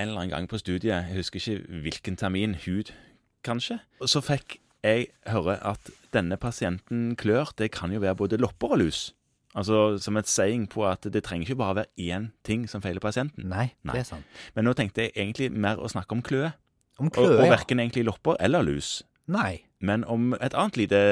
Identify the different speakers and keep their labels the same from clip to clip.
Speaker 1: en eller annen gang på studiet, jeg husker ikke hvilken termin, hud kanskje, og så fikk jeg høre at denne pasienten klør, det kan jo være både lopper og lus. Altså som et saying på at det trenger ikke bare være én ting som feiler pasienten.
Speaker 2: Nei,
Speaker 1: Nei.
Speaker 2: det er sant.
Speaker 1: Men nå tenkte jeg egentlig mer å snakke om kløe,
Speaker 2: Om
Speaker 1: og,
Speaker 2: kløe,
Speaker 1: og
Speaker 2: ja.
Speaker 1: verken egentlig lopper eller lus,
Speaker 2: Nei,
Speaker 1: men om et annet lite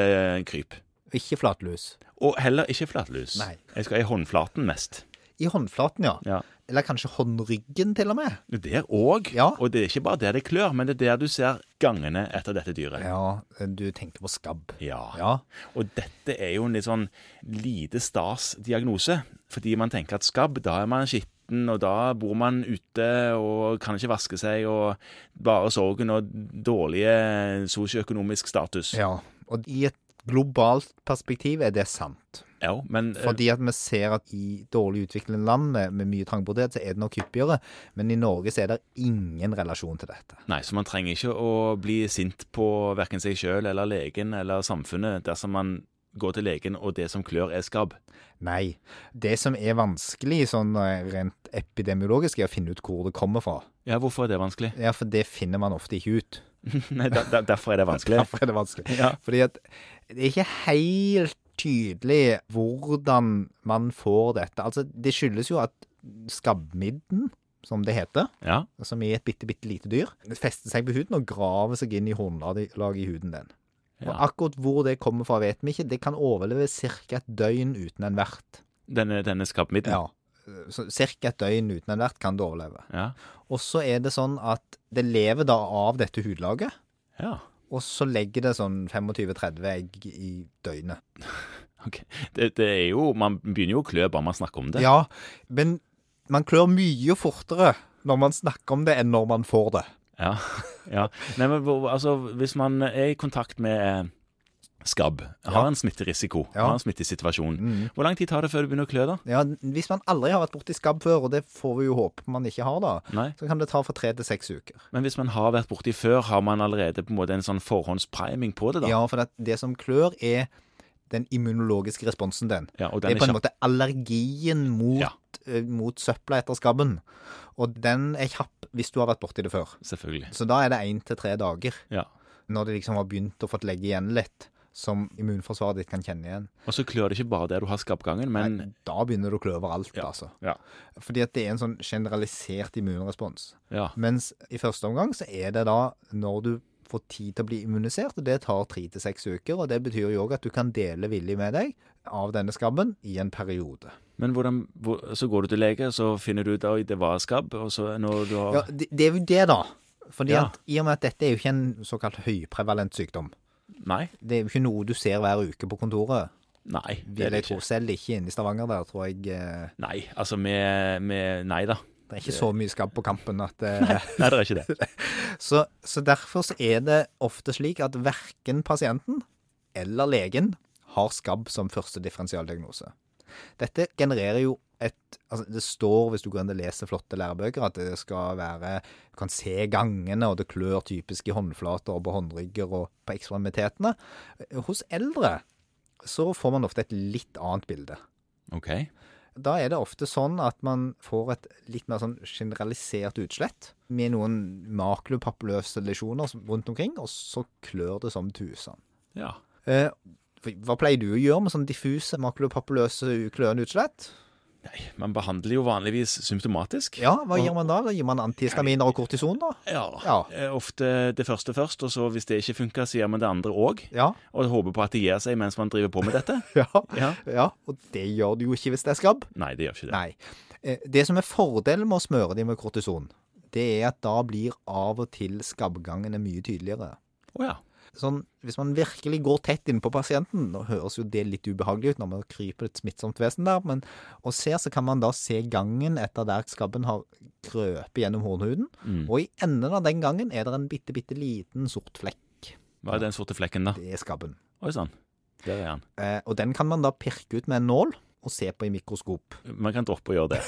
Speaker 1: kryp.
Speaker 2: ikke flatlus.
Speaker 1: Og heller ikke flatlus.
Speaker 2: Nei.
Speaker 1: Jeg skal i håndflaten mest.
Speaker 2: I håndflaten, ja.
Speaker 1: Ja.
Speaker 2: Eller kanskje håndryggen, til og med.
Speaker 1: Der òg.
Speaker 2: Ja.
Speaker 1: Og det er ikke bare der det klør, men det er der du ser gangene etter dette dyret.
Speaker 2: Ja, du tenker på skabb.
Speaker 1: Ja.
Speaker 2: Ja.
Speaker 1: Og dette er jo en litt sånn lite stas diagnose, fordi man tenker at skabb, da er man skitten, og da bor man ute og kan ikke vaske seg, og bare sorgen og dårlige sosioøkonomisk status.
Speaker 2: ja. Og i et globalt perspektiv er det sant.
Speaker 1: Ja, men eh,
Speaker 2: Fordi at vi ser at i dårlig utviklede land med, med mye trangboddhet, så er det nok hyppigere. Men i Norge så er det ingen relasjon til dette.
Speaker 1: Nei, så man trenger ikke å bli sint på verken seg sjøl eller legen eller samfunnet dersom man går til legen og det som klør, er skabb.
Speaker 2: Nei. Det som er vanskelig sånn eh, rent epidemiologisk, er å finne ut hvor det kommer fra.
Speaker 1: Ja, hvorfor er det vanskelig?
Speaker 2: Ja, for det finner man ofte ikke ut.
Speaker 1: Nei, der- der- Derfor er det vanskelig.
Speaker 2: Derfor er det vanskelig.
Speaker 1: Ja.
Speaker 2: Fordi at det er ikke helt tydelig hvordan man får dette. Altså, det skyldes jo at skabbmidden, som det heter,
Speaker 1: Ja,
Speaker 2: som i et bitte, bitte lite dyr, fester seg på huden og graver seg inn i håndlaget i huden den. Og
Speaker 1: ja.
Speaker 2: akkurat hvor det kommer fra, vet vi ikke. Det kan overleve ca. et døgn uten en vert.
Speaker 1: Denne, denne skabbmidden.
Speaker 2: Ja. Så ca. et døgn uten en vert kan det overleve.
Speaker 1: Ja.
Speaker 2: Og så er det sånn at det lever da av dette hudlaget,
Speaker 1: ja.
Speaker 2: og så legger det sånn 25-30 egg i døgnet.
Speaker 1: Ok. Det, det er jo Man begynner jo å klø bare man snakker om det.
Speaker 2: Ja, men man klør mye fortere når man snakker om det, enn når man får det.
Speaker 1: Ja. ja. Nei, men hvor- altså, hvis man er i kontakt med eh, skabb, har
Speaker 2: Ja.
Speaker 1: en smitterisiko,
Speaker 2: Ja.
Speaker 1: har en smittesituasjon, hvor lang tid tar det før du begynner å klø, da?
Speaker 2: Ja, Hvis man aldri har vært borti skabb før, og det får vi jo håpe man ikke har, da,
Speaker 1: Nei.
Speaker 2: så kan det ta fra tre til seks uker.
Speaker 1: Men hvis man har vært borti før, har man allerede på en måte en sånn forhåndspriming på det, da?
Speaker 2: Ja, for det, det som klør, er den immunologiske responsen den.
Speaker 1: Ja, og
Speaker 2: Det
Speaker 1: den
Speaker 2: er
Speaker 1: er
Speaker 2: på en
Speaker 1: kjapp.
Speaker 2: måte allergien mot,
Speaker 1: Ja.
Speaker 2: eh, mot søpla etter skabben. Og den er kjapp hvis du har vært borti det før.
Speaker 1: Selvfølgelig.
Speaker 2: Så da er det én til tre dager,
Speaker 1: Ja.
Speaker 2: når det liksom har begynt å fått legge igjen litt, som immunforsvaret ditt kan kjenne igjen.
Speaker 1: Og så klør det ikke bare der du har skabbgangen, men
Speaker 2: Nei, da begynner du å klø overalt,
Speaker 1: Ja.
Speaker 2: altså.
Speaker 1: ja.
Speaker 2: Fordi at det er en sånn generalisert immunrespons.
Speaker 1: ja.
Speaker 2: Mens i første omgang så er det da når du får tid til å bli immunisert, og det tar tre til seks uker. Og det betyr jo òg at du kan dele villig med deg av denne skabben i en periode.
Speaker 1: Men hvordan, hvor, så går du til lege, så finner du ut at det var skabb, og så når du har
Speaker 2: Ja, det, det er jo det, da. Fordi
Speaker 1: Ja.
Speaker 2: at I og med at dette er jo ikke en såkalt høyprevalent sykdom.
Speaker 1: Nei.
Speaker 2: Det er jo ikke noe du ser hver uke på kontoret.
Speaker 1: Nei. Det er
Speaker 2: Vil
Speaker 1: det
Speaker 2: jeg
Speaker 1: ikke.
Speaker 2: tro selv ikke inne i Stavanger der, tror jeg. eh,
Speaker 1: Nei, altså med, med Nei da.
Speaker 2: Det er ikke så mye skabb på kampen at eh,
Speaker 1: Nei, det er ikke det.
Speaker 2: Så, så derfor så er det ofte slik at verken pasienten eller legen har skabb som første differensialdiagnose. Dette genererer jo et altså Det står, hvis du går inn og leser flotte lærebøker, at det skal være Du kan se gangene, og det klør typisk i håndflater og på håndrygger og på ekstremitetene. Hos eldre så får man ofte et litt annet bilde.
Speaker 1: OK.
Speaker 2: Da er det ofte sånn at man får et litt mer sånn generalisert utslett, med noen makulopapuløse lesjoner som- rundt omkring, og så klør det som tusen.
Speaker 1: Ja.
Speaker 2: Eh, hva pleier du å gjøre med sånn diffuse makulopapuløse kløende utslett?
Speaker 1: Nei, man behandler jo vanligvis symptomatisk.
Speaker 2: Ja, hva gjør man da? Da Gir man antihistaminer og kortison, da?
Speaker 1: Ja.
Speaker 2: Ja.
Speaker 1: Eh, Ofte det første først, og så hvis det ikke funker, så gjør man det andre òg.
Speaker 2: Ja.
Speaker 1: Og håper på at det gir seg mens man driver på med dette.
Speaker 2: Ja.
Speaker 1: Ja.
Speaker 2: ja. Og det gjør du jo ikke hvis det er skabb.
Speaker 1: Nei, det gjør ikke det.
Speaker 2: Nei. Eh, Det som er fordelen med å smøre dem med kortison, det er at da blir av og til skabbgangene mye tydeligere.
Speaker 1: Å ja.
Speaker 2: sånn, hvis man virkelig går tett innpå pasienten, nå høres jo det litt ubehagelig ut når man kryper et smittsomt vesen der, men og ser, så kan man da se gangen etter der skabben har krøpet gjennom hornhuden, og i enden av den gangen er det en bitte, bitte liten sort flekk.
Speaker 1: Hva er den sorte flekken, da?
Speaker 2: Det er skabben.
Speaker 1: Oi sann. Der er han.
Speaker 2: Eh, og den kan man da pirke ut med en nål og se på i mikroskop.
Speaker 1: Man kan droppe å gjøre det.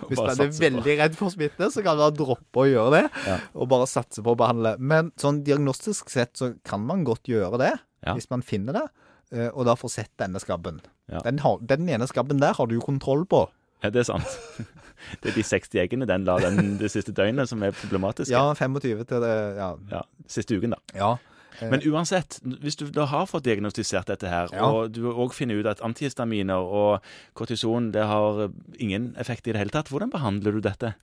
Speaker 1: Og
Speaker 2: Hvis
Speaker 1: bare
Speaker 2: man er
Speaker 1: satse på-
Speaker 2: veldig redd for smitte, så kan man droppe å gjøre det,
Speaker 1: Ja.
Speaker 2: og bare satse på å behandle. Men sånn diagnostisk sett så kan man godt gjøre det,
Speaker 1: Ja.
Speaker 2: hvis man finner det, eh, og da får sett denne skabben.
Speaker 1: Ja.
Speaker 2: Den, har, den ene skabben der har du jo kontroll på.
Speaker 1: Ja, det er sant. Det er de 60 eggene den la den det siste døgnet som er problematiske.
Speaker 2: Ja, 25 til det Ja.
Speaker 1: Ja, siste uken, da.
Speaker 2: ja. Eh,
Speaker 1: Men uansett, hvis du da har fått diagnostisert dette her,
Speaker 2: Ja.
Speaker 1: og du òg finner ut at antihistaminer og kortison det har ingen effekt i det hele tatt, hvordan behandler du dette?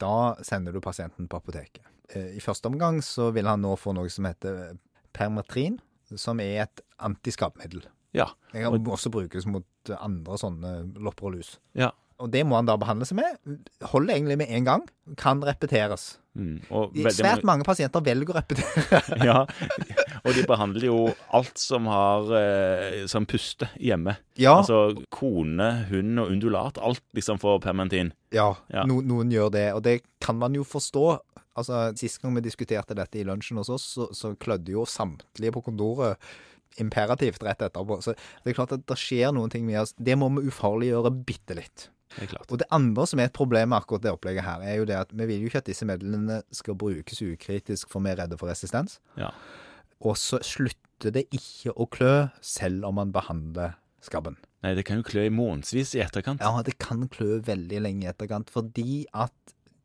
Speaker 2: Da sender du pasienten på apoteket. Eh, I første omgang så vil han nå få noe som heter permatrin, som er et antiskapmiddel.
Speaker 1: Ja.
Speaker 2: Det kan også brukes mot andre sånne lopper og lus.
Speaker 1: ja.
Speaker 2: Og det må han da behandle seg med. Holder egentlig med én gang. Kan repeteres.
Speaker 1: Mm. Og
Speaker 2: De-
Speaker 1: veldig
Speaker 2: Svært mange pasienter velger å repetere.
Speaker 1: mange- Ja. Og de behandler jo alt som har eh, som puster hjemme.
Speaker 2: Ja,
Speaker 1: Altså kone, hund og undulat. Alt liksom får permantin.
Speaker 2: ja,
Speaker 1: ja.
Speaker 2: No, noen gjør det, og det kan man jo forstå. Altså, Sist gang vi diskuterte dette i lunsjen hos oss, så, så klødde jo samtlige på kontoret imperativt rett etterpå. Så det er klart at det skjer noen ting med oss. Det må vi ufarliggjøre bitte litt.
Speaker 1: Det er klart.
Speaker 2: Og det andre som er et problem med akkurat det opplegget her, er jo det at vi vil jo ikke at disse midlene skal brukes ukritisk, for vi er redde for resistens.
Speaker 1: Ja.
Speaker 2: Og så slutter det ikke å klø, selv om man behandler skabben.
Speaker 1: Nei, det kan jo klø i månedsvis i etterkant.
Speaker 2: Ja, det kan klø veldig lenge i etterkant, fordi at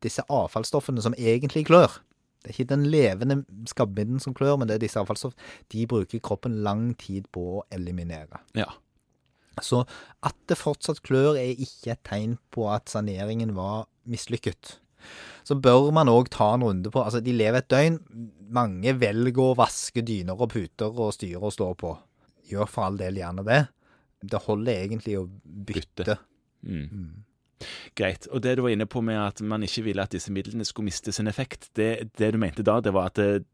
Speaker 2: disse avfallsstoffene som egentlig klør Det er ikke den levende skabbmidden som klør, men det er disse avfallsstoffene. De bruker kroppen lang tid på å eliminere.
Speaker 1: Ja.
Speaker 2: Så at det fortsatt klør er ikke et tegn på at saneringen var mislykket. Så bør man òg ta en runde på Altså, de lever et døgn. Mange velger å vaske dyner og puter og styre og stå på. Gjør for all del gjerne det. Det holder egentlig å bytte.
Speaker 1: Bytte. Mm. Greit. Og det du var inne på med at man ikke ville at disse midlene skulle miste sin effekt, det, det du mente da, det var at eh,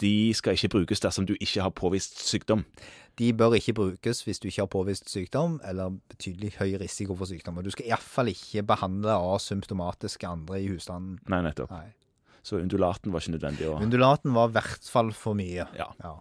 Speaker 1: de skal ikke brukes dersom du ikke har påvist sykdom.
Speaker 2: De bør ikke brukes hvis du ikke har påvist sykdom, eller betydelig høy risiko for sykdom. Og du skal iallfall ikke behandle asymptomatiske andre i husstanden.
Speaker 1: Nei, nettopp.
Speaker 2: Nei.
Speaker 1: Så undulaten var ikke nødvendig å
Speaker 2: Undulaten var i hvert fall for mye.
Speaker 1: Ja.
Speaker 2: Ja.